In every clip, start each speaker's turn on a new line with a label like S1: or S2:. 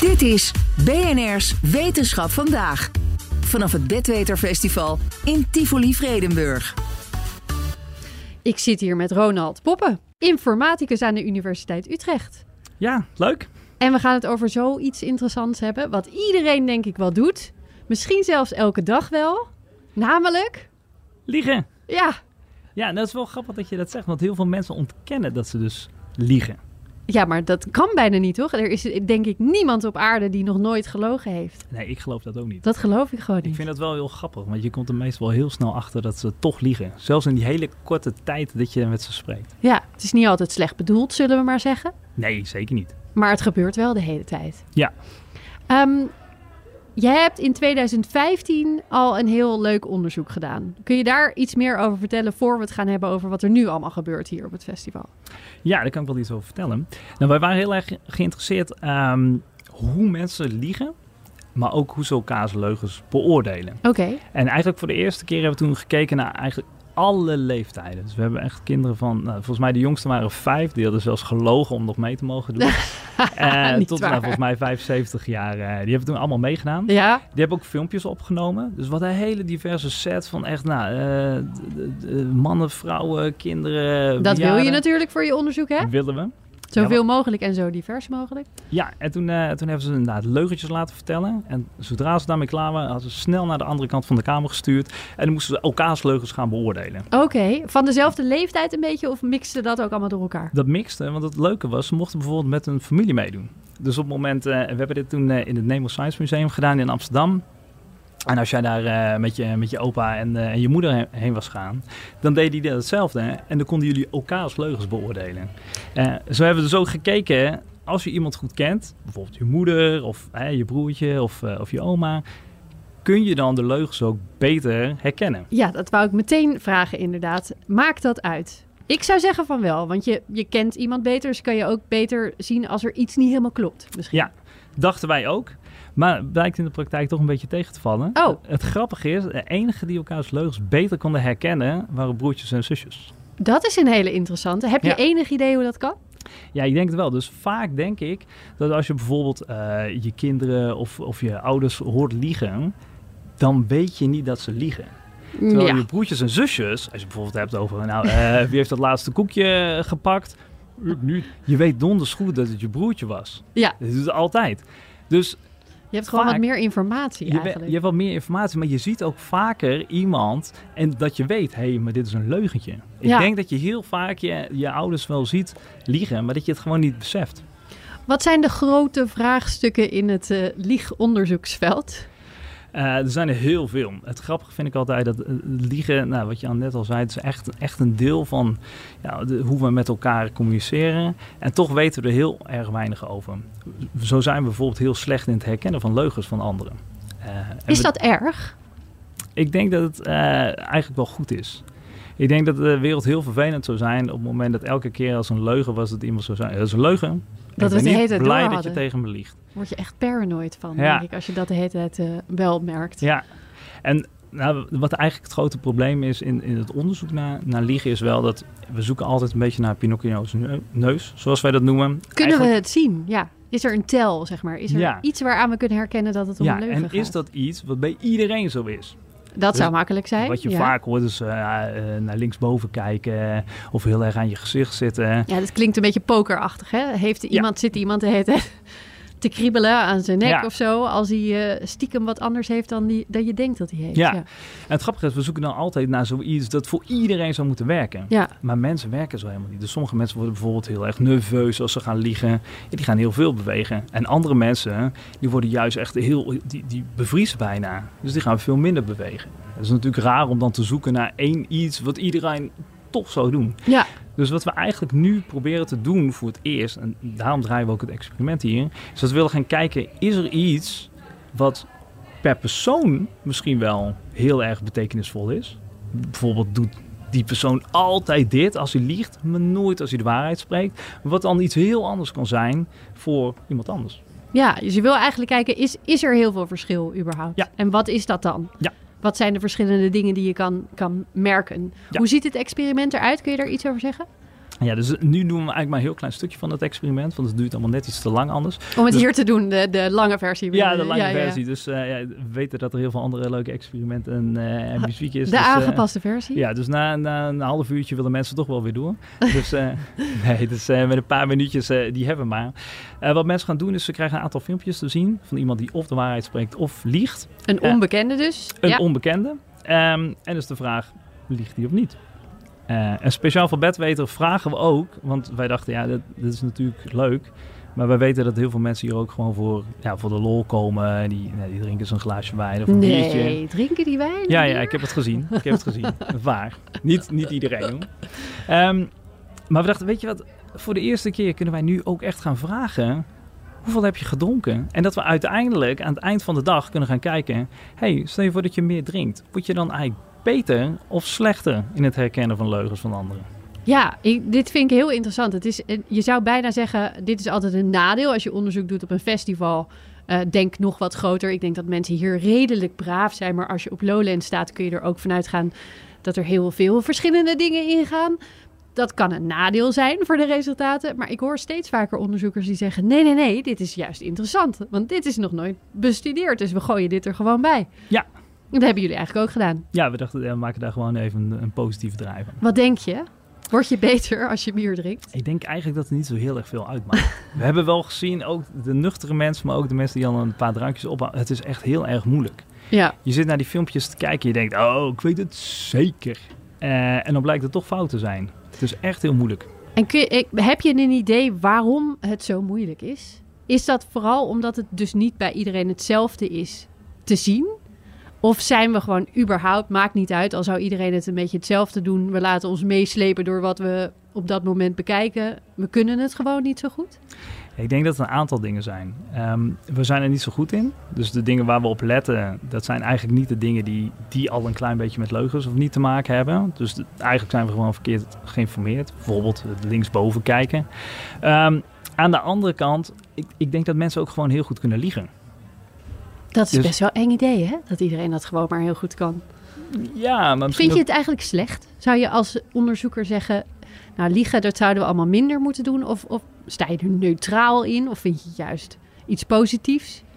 S1: Dit is BNR's Wetenschap vandaag. Vanaf het Bedweterfestival in Tivoli-Vredenburg.
S2: Ik zit hier met Ronald Poppen, informaticus aan de Universiteit Utrecht.
S3: Ja, leuk.
S2: En we gaan het over zoiets interessants hebben, wat iedereen denk ik wel doet. Misschien zelfs elke dag wel. Namelijk,
S3: Liegen.
S2: ja,
S3: Ja, dat is wel grappig dat je dat zegt, want heel veel mensen ontkennen dat ze dus liegen.
S2: ja maar dat kan bijna niet, toch? Er is denk ik niemand op aarde die nog nooit gelogen heeft.
S3: Nee, ik geloof dat ook niet.
S2: Dat geloof ik gewoon
S3: Ik
S2: niet.
S3: vind dat wel heel grappig, want je komt er meestal wel heel snel achter dat ze toch liegen. Zelfs in die hele korte tijd dat je met ze spreekt.
S2: Ja, het is niet altijd slecht bedoeld, zullen we maar zeggen.
S3: Nee, zeker niet.
S2: Maar het gebeurt wel de hele tijd.
S3: Ja.
S2: Ehm, jij hebt in 2015 al een heel leuk onderzoek gedaan. Kun je daar iets meer over vertellen voor we het gaan hebben over wat er nu allemaal gebeurt hier op het festival?
S3: Ja, daar kan ik wel iets over vertellen. Nou, wij waren heel erg geïnteresseerd ehm hoe mensen liegen, maar ook hoe ze elkaars leugens beoordelen.
S2: Oké.
S3: En eigenlijk voor de eerste keer hebben we toen gekeken naar eigenlijk alle leeftijden. Dus we hebben echt kinderen van, nou, volgens mij de jongste waren vijf. Die hadden zelfs gelogen om nog mee te mogen doen. Eh,
S2: Niet
S3: tot
S2: waar.
S3: nou, volgens mij 75 jaar. eh, die hebben toen allemaal meegedaan.
S2: Ja,
S3: Die hebben ook filmpjes opgenomen. Dus wat een hele diverse set van echt nou, eh, d- d- d- mannen, vrouwen, kinderen.
S2: dat wil je
S3: bejaarden.
S2: natuurlijk voor je onderzoek, hè?
S3: Willen we.
S2: Zoveel mogelijk en zo divers mogelijk.
S3: Ja, en toen, eh, toen hebben ze inderdaad leugentjes laten vertellen. En zodra ze daarmee klaar waren, hadden ze snel naar de andere kant van de kamer gestuurd. En dan moesten ze elkaars leugens gaan beoordelen.
S2: Oké, van dezelfde leeftijd een beetje of mixte dat ook allemaal door elkaar?
S3: Dat mixte, want het leuke was, ze mochten bijvoorbeeld met hun familie meedoen. Dus op het moment, eh, we hebben dit toen eh, in het Nemo Science Museum gedaan in Amsterdam. En als jij daar eh, met, je, met je opa en, eh, en je moeder he- heen was gaan, dan deden die hetzelfde. hè? En dan konden jullie elkaars leugens beoordelen. Eh, zo hebben we dus ook gekeken, hè, als je iemand goed kent, bijvoorbeeld je moeder of hè, je broertje of, eh, of je oma, kun je dan de leugens ook beter herkennen.
S2: Ja, dat wou ik meteen vragen inderdaad. Maakt dat uit? Ik zou zeggen van wel, want je, je kent iemand beter, dus kan je ook beter zien als er iets niet helemaal klopt. Misschien.
S3: Ja, dachten wij ook. Maar het blijkt in de praktijk toch een beetje tegen te vallen.
S2: Oh.
S3: Het grappige is, de enige die elkaars leugens beter konden herkennen, waren broertjes en zusjes.
S2: Dat is een hele interessante. Heb je
S3: Ja.
S2: enig idee hoe dat kan?
S3: Ja, ik denk het wel. Dus vaak denk ik dat als je bijvoorbeeld eh, je kinderen of, of je ouders hoort liegen, dan weet je niet dat ze liegen. Terwijl je broertjes en zusjes, als je bijvoorbeeld hebt over, nou, eh, wie heeft dat laatste koekje gepakt? Ik niet. Je weet donders goed dat het je broertje was.
S2: Ja.
S3: Dat is het altijd. Dus
S2: je hebt gewoon
S3: vaak-
S2: wat meer informatie
S3: Je,
S2: eigenlijk.
S3: we- je hebt wel meer informatie, maar je ziet ook vaker iemand en dat je weet, hé, hey, maar dit is een leugentje. Ik
S2: Ja.
S3: denk dat je heel vaak je, je ouders wel ziet liegen, maar dat je het gewoon niet beseft.
S2: Wat zijn de grote vraagstukken in het eh, liegonderzoeksveld?
S3: Eh, er zijn er heel veel. Het grappige vind ik altijd dat eh, liegen, nou, wat je al net al zei, het is echt, echt een deel van ja, de- hoe we met elkaar communiceren. En toch weten we er heel erg weinig over. Zo zijn we bijvoorbeeld heel slecht in het herkennen van leugens van anderen. Eh, en
S2: Is
S3: we-
S2: dat erg?
S3: Ik denk dat het eh, eigenlijk wel goed is. Ik denk dat de wereld heel vervelend zou zijn op het moment dat elke keer als een leugen was dat iemand zou zijn. Dat is een leugen.
S2: we het
S3: ik
S2: de
S3: ben
S2: hele
S3: niet
S2: tijd door
S3: blij dat je
S2: hadden.
S3: tegen me liegt.
S2: Word je echt paranoid van,
S3: Ja.
S2: denk ik, als je dat de hele tijd eh, wel merkt.
S3: Ja. En nou, wat eigenlijk het grote probleem is in, in het onderzoek naar, naar liegen is wel dat we zoeken altijd een beetje naar Pinocchio's neu- neus, zoals wij dat noemen.
S2: Kunnen
S3: Eigenlijk-
S2: we het zien? Ja. Is er een tel, zeg maar? Is er
S3: Ja.
S2: iets waaraan we kunnen herkennen dat het om een
S3: Ja,
S2: leugen
S3: en is
S2: gaat?
S3: dat iets wat bij iedereen zo is?
S2: Dat
S3: dus
S2: zou makkelijk zijn.
S3: Wat je
S2: ja.
S3: vaak hoort is eh, eh, naar linksboven kijken eh, of heel erg aan je gezicht zitten. eh.
S2: Ja, dat klinkt een beetje pokerachtig, hè? Heeft iemand, Zit iemand de hele tijd te kriebelen aan zijn nek
S3: Ja.
S2: of zo... als hij eh, stiekem wat anders heeft dan, die, dan je denkt dat hij heeft?
S3: Ja. En het grappige is, we zoeken dan altijd naar zoiets dat voor iedereen zou moeten werken.
S2: ja.
S3: Maar mensen werken zo helemaal niet. Dus sommige mensen worden bijvoorbeeld heel erg nerveus als ze gaan liegen. Ja, die gaan heel veel bewegen. En andere mensen, die worden juist echt heel, die, die bevriezen bijna. Dus die gaan veel minder bewegen. Het is natuurlijk raar om dan te zoeken naar één iets wat iedereen toch zou doen.
S2: ja.
S3: Dus wat we eigenlijk nu proberen te doen voor het eerst, en daarom draaien we ook het experiment hier, is dat we willen gaan kijken, is er iets wat per persoon misschien wel heel erg betekenisvol is? Bijvoorbeeld doet die persoon altijd dit als hij liegt, maar nooit als hij de waarheid spreekt. Wat dan iets heel anders kan zijn voor iemand anders.
S2: Ja, dus je wil eigenlijk kijken, is, is er heel veel verschil überhaupt?
S3: Ja.
S2: En wat is dat dan?
S3: Ja.
S2: Wat zijn de verschillende dingen die je kan, kan merken?
S3: Ja.
S2: Hoe ziet het experiment eruit? Kun je daar iets over zeggen?
S3: Ja, dus nu doen we eigenlijk maar een heel klein stukje van het experiment, want het duurt allemaal net iets te lang anders.
S2: Om het
S3: Dus-
S2: hier te doen, de, de lange versie.
S3: Ja, de
S2: bedoel je?
S3: lange versie. Dus eh, ja, we weten dat er heel veel andere leuke experimenten en, eh, en muziek is.
S2: De
S3: dus, eh,
S2: aangepaste versie.
S3: ja, dus na, na een half uurtje willen mensen toch wel weer door. Dus eh, nee, dus eh, met een paar minuutjes, eh, die hebben we maar. Eh, wat mensen gaan doen is, ze krijgen een aantal filmpjes te zien van iemand die of de waarheid spreekt of liegt.
S2: Een
S3: Ja.
S2: onbekende dus.
S3: Een
S2: ja.
S3: onbekende. Ehm, en dus de vraag, liegt die of niet? Eh, en speciaal voor bedweter vragen we ook, want wij dachten, ja, dat, dat is natuurlijk leuk. Maar wij weten dat heel veel mensen hier ook gewoon voor, ja, voor de lol komen. Die, nou, die drinken zo'n glaasje wijn of een biertje.
S2: nee, drinken die wijn?
S3: Ja, ja, ik heb het gezien. Ik heb het gezien. Waar. Niet, niet iedereen. hoor. Ehm, maar we dachten, weet je wat? Voor de eerste keer kunnen wij nu ook echt gaan vragen... Hoeveel heb je gedronken? En dat we uiteindelijk aan het eind van de dag kunnen gaan kijken... hey, stel je voor dat je meer drinkt. Word je dan eigenlijk beter of slechter in het herkennen van leugens van anderen?
S2: Ja, ik- dit vind ik heel interessant. Het is, eh, je zou bijna zeggen, dit is altijd een nadeel als je onderzoek doet op een festival. Eh, denk nog wat groter. Ik denk dat mensen hier redelijk braaf zijn. Maar als je op Lowland staat, kun je er ook vanuit gaan dat er heel veel verschillende dingen ingaan. Dat kan een nadeel zijn voor de resultaten. Maar ik hoor steeds vaker onderzoekers die zeggen: nee, nee, nee, dit is juist interessant. Want dit is nog nooit bestudeerd. Dus we gooien dit er gewoon bij.
S3: Ja.
S2: Dat hebben jullie eigenlijk ook gedaan.
S3: Ja, we dachten, eh, we maken daar gewoon even een, een positieve draai van.
S2: Wat denk je? Word je beter als je bier drinkt?
S3: Ik denk eigenlijk dat het niet zo heel erg veel uitmaakt. we hebben wel gezien, ook de nuchtere mensen... maar ook de mensen die al een paar drankjes ophouden... het is echt heel erg moeilijk.
S2: Ja.
S3: Je zit naar die filmpjes te kijken en je denkt, oh, ik weet het zeker. Eh, en dan blijkt het toch fout te zijn. Het is echt heel moeilijk.
S2: En kun je- ik- heb je een idee waarom het zo moeilijk is? Is dat vooral omdat het dus niet bij iedereen hetzelfde is te zien? Of zijn we gewoon überhaupt, maakt niet uit, al zou iedereen het een beetje hetzelfde doen. We laten ons meeslepen door wat we op dat moment bekijken. We kunnen het gewoon niet zo goed.
S3: Ik denk dat het een aantal dingen zijn. Ehm, we zijn er niet zo goed in. Dus de dingen waar we op letten, dat zijn eigenlijk niet de dingen die, die al een klein beetje met leugens of niet te maken hebben. Dus de- eigenlijk zijn we gewoon verkeerd geïnformeerd. Bijvoorbeeld het linksboven kijken. Ehm, aan de andere kant, ik, ik denk dat mensen ook gewoon heel goed kunnen liegen.
S2: Dat is
S3: Dus-
S2: best wel eng idee, hè? Dat iedereen dat gewoon maar heel goed kan.
S3: Ja, maar misschien
S2: Vind je het eigenlijk slecht? Zou je als onderzoeker zeggen, nou liegen, dat zouden we allemaal minder moeten doen? Of, of sta je er neutraal in? Of vind je het juist iets positiefs?
S3: ook-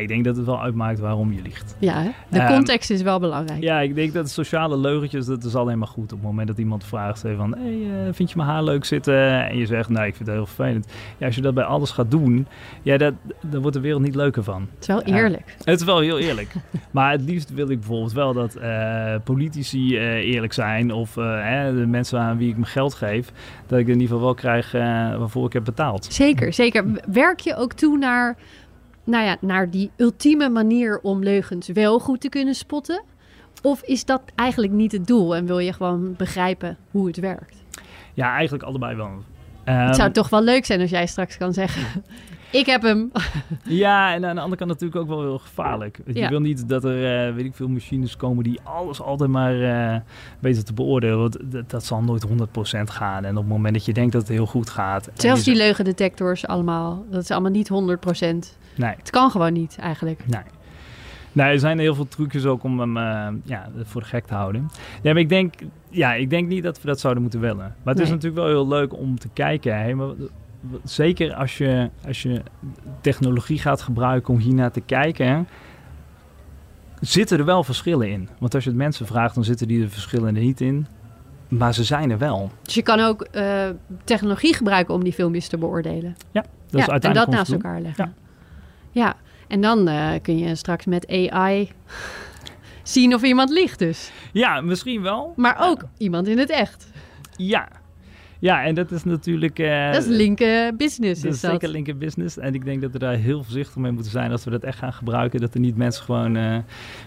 S3: Nee, ik denk dat het wel uitmaakt waarom je liegt.
S2: Ja, hè? de
S3: Ehm,
S2: context is wel belangrijk.
S3: Ja, ik denk dat sociale leugentjes, dat is alleen maar goed. Op het moment dat iemand vraagt hey, van, hey, eh, vind je mijn haar leuk zitten? En je zegt, nee, ik vind het heel vervelend. Ja, als je dat bij alles gaat doen, ja, dat, dan wordt de wereld niet leuker van.
S2: Het is wel
S3: ja.
S2: eerlijk.
S3: Het is wel heel eerlijk. maar het liefst wil ik bijvoorbeeld wel dat eh, politici eh, eerlijk zijn. Of eh, hè, de mensen aan wie ik mijn geld geef. Dat ik in ieder geval wel krijg eh, waarvoor ik heb betaald.
S2: Zeker, zeker. Werk je ook toe naar, nou ja, naar die ultieme manier om leugens wel goed te kunnen spotten? Of is dat eigenlijk niet het doel en wil je gewoon begrijpen hoe het werkt?
S3: Ja, eigenlijk allebei wel.
S2: het zou
S3: Ehm,
S2: toch wel leuk zijn als jij straks kan zeggen: Ik heb hem.
S3: Ja, en aan de andere kant natuurlijk ook wel heel gevaarlijk. Je
S2: Ja.
S3: wil niet dat er, eh, weet ik veel, machines komen die alles altijd maar eh, weten te beoordelen. Want dat, dat zal nooit 100% gaan. En op het moment dat je denkt dat het heel goed gaat... en
S2: Zelfs
S3: je
S2: die leugendetectors allemaal, dat is allemaal niet 100%.
S3: zegt- Nee,
S2: Het kan gewoon niet eigenlijk.
S3: nee. Nee, er zijn heel veel trucjes ook om hem eh, ja, voor de gek te houden. Ja, maar ik denk, ja, ik denk niet dat we dat zouden moeten willen. Maar het is
S2: Nee.
S3: natuurlijk wel heel leuk om te kijken. Hè? Maar, wat- wat- zeker als je, als je technologie gaat gebruiken om hiernaar te kijken, zitten er wel verschillen in. Want als je het mensen vraagt, dan zitten die er verschillen er niet in. Maar ze zijn er wel.
S2: Dus je kan ook eh, technologie gebruiken om die filmpjes te beoordelen.
S3: Dat is
S2: ja, en
S3: uiteindelijk
S2: dat
S3: ons
S2: naast
S3: doel.
S2: elkaar leggen. Ja. en dan eh, kun je straks met AI zien of iemand liegt dus.
S3: Ja, misschien wel.
S2: Maar ook iemand in het echt.
S3: Ja. Ja, en dat is natuurlijk... eh,
S2: dat is linker business
S3: Dat
S2: is
S3: is
S2: dat.
S3: zeker linker business. En ik denk dat we daar heel voorzichtig mee moeten zijn als we dat echt gaan gebruiken. Dat er niet mensen gewoon eh,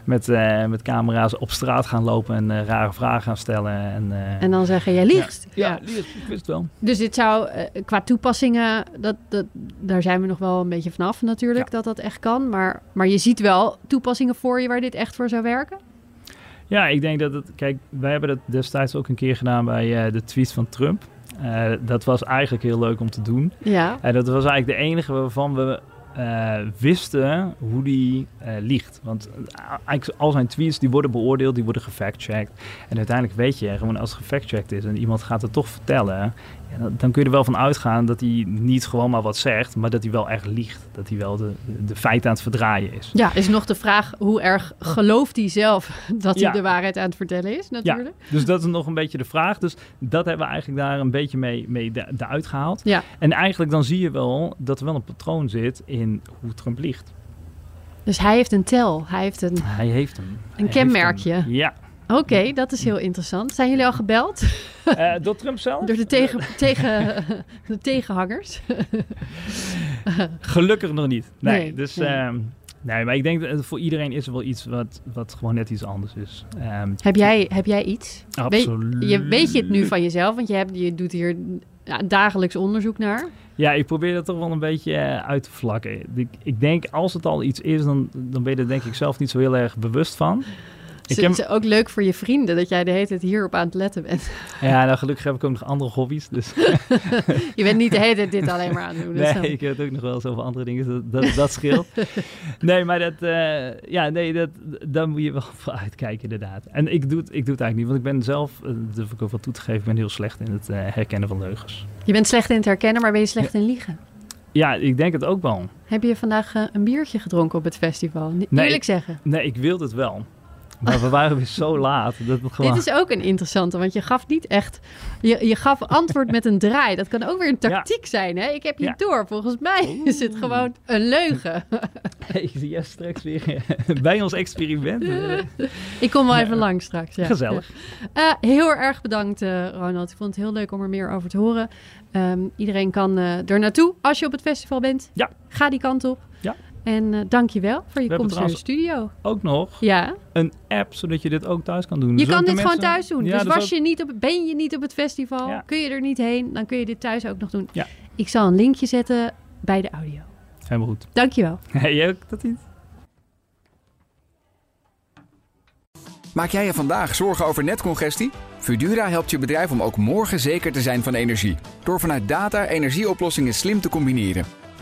S3: met, eh, met camera's op straat gaan lopen en eh, rare vragen gaan stellen. En, eh,
S2: En dan zeggen, jij liegt.
S3: ja, lief, ik wist het wel.
S2: Dus dit zou eh, qua toepassingen, dat, dat, daar zijn we nog wel een beetje vanaf natuurlijk, dat dat echt kan. Maar, maar je ziet wel toepassingen voor je waar dit echt voor zou werken.
S3: Ja, ik denk dat het... Kijk, wij hebben dat destijds ook een keer gedaan bij eh, de tweet van Trump. Eh, dat was eigenlijk heel leuk om te doen.
S2: Ja.
S3: En Eh, dat was eigenlijk de enige waarvan we eh, wisten hoe die eh, liegt. Want eh, eigenlijk al zijn tweets die worden beoordeeld, die worden gefactcheckt. En uiteindelijk weet je gewoon als het gefactcheckt is en iemand gaat het toch vertellen, Ja, dan, dan kun je er wel van uitgaan dat hij niet gewoon maar wat zegt, maar dat hij wel echt liegt. Dat hij wel de, de feiten aan het verdraaien is.
S2: Ja, is nog de vraag hoe erg gelooft hij zelf dat hij
S3: Ja.
S2: de waarheid aan het vertellen is, natuurlijk.
S3: Dus dat is nog een beetje de vraag. Dus dat hebben we eigenlijk daar een beetje mee, mee da- daaruit gehaald.
S2: Ja.
S3: En eigenlijk dan zie je wel dat er wel een patroon zit in hoe Trump liegt.
S2: Dus hij heeft een tel. Hij heeft een.
S3: Hij heeft hem. Hij heeft
S2: kenmerkje.
S3: hem. Ja.
S2: Oké, dat is heel interessant. Zijn jullie al gebeld
S3: Eh, door Trump zelf?
S2: door de, tegen, tegen, de tegenhangers?
S3: Gelukkig nog niet. Nee,
S2: Nee,
S3: dus...
S2: nee.
S3: ehm, nee, maar ik denk dat het voor iedereen is er wel iets wat, wat gewoon net iets anders is. Ehm,
S2: Heb jij, heb jij iets?
S3: absoluut.
S2: Je, weet je het nu van jezelf? Want je, hebt, je doet hier ja, dagelijks onderzoek naar.
S3: Ja, ik probeer dat toch wel een beetje eh, uit te vlakken. Ik, ik denk, als het al iets is, dan, dan ben je er denk ik zelf niet zo heel erg bewust van.
S2: Het is
S3: heb-
S2: is ook leuk voor je vrienden dat jij de hele tijd hierop aan het letten bent.
S3: Ja, nou gelukkig heb ik ook nog andere hobby's. Dus
S2: Je bent niet de hele tijd dit alleen maar aan het doen. Dus dan-
S3: nee, ik heb ook nog wel zoveel andere dingen. dus Dat, dat, dat scheelt. nee, maar dat, eh, ja, nee, dat, daar moet je wel voor uitkijken, inderdaad. En ik doe, het, ik doe het eigenlijk niet, want ik ben zelf, eh, dat durf ik ook wel toe te geven, ik ben heel slecht in het eh, herkennen van leugens.
S2: Je bent slecht in het herkennen, maar ben je slecht in liegen?
S3: Ja, ik denk het ook wel.
S2: Heb je vandaag eh, een biertje gedronken op het festival? Ni-
S3: Nee.
S2: Eerlijk zeggen.
S3: Nee, ik wilde het wel. Maar we waren weer zo laat. Dat het gewoon...
S2: Dit is ook een interessante, want je gaf niet echt... Je, je gaf antwoord met een draai. Dat kan ook weer een tactiek zijn, hè? Ik heb je
S3: Ja.
S2: door. Volgens mij is het gewoon een leugen.
S3: Ik zie jij straks weer eh, bij ons experiment. Eh,
S2: Ik kom wel even langs straks. Ja.
S3: Gezellig.
S2: Eh, heel erg bedankt, eh, Ronald. Ik vond het heel leuk om er meer over te horen. Ehm, iedereen kan eh er naartoe als je op het festival bent.
S3: Ja.
S2: Ga die kant op.
S3: Ja.
S2: En eh dank je wel voor je
S3: We hebben
S2: komst naar de
S3: trouwens-
S2: studio.
S3: Ook nog
S2: Ja.
S3: een app, zodat je dit ook thuis kan doen.
S2: Je
S3: Dus ook
S2: kan
S3: de
S2: dit gewoon
S3: mensen-
S2: thuis doen.
S3: Ja,
S2: dus
S3: dat is
S2: was
S3: ook-
S2: je niet op, ben je niet op het festival,
S3: Ja.
S2: kun je er niet heen, dan kun je dit thuis ook nog doen.
S3: Ja.
S2: Ik zal een linkje zetten bij de audio.
S3: Helemaal goed.
S2: Dankjewel.
S3: Hey, jij ook dat niet?
S4: Maak jij je vandaag zorgen over netcongestie? Fudura helpt je bedrijf om ook morgen zeker te zijn van energie. Door vanuit data energieoplossingen slim te combineren.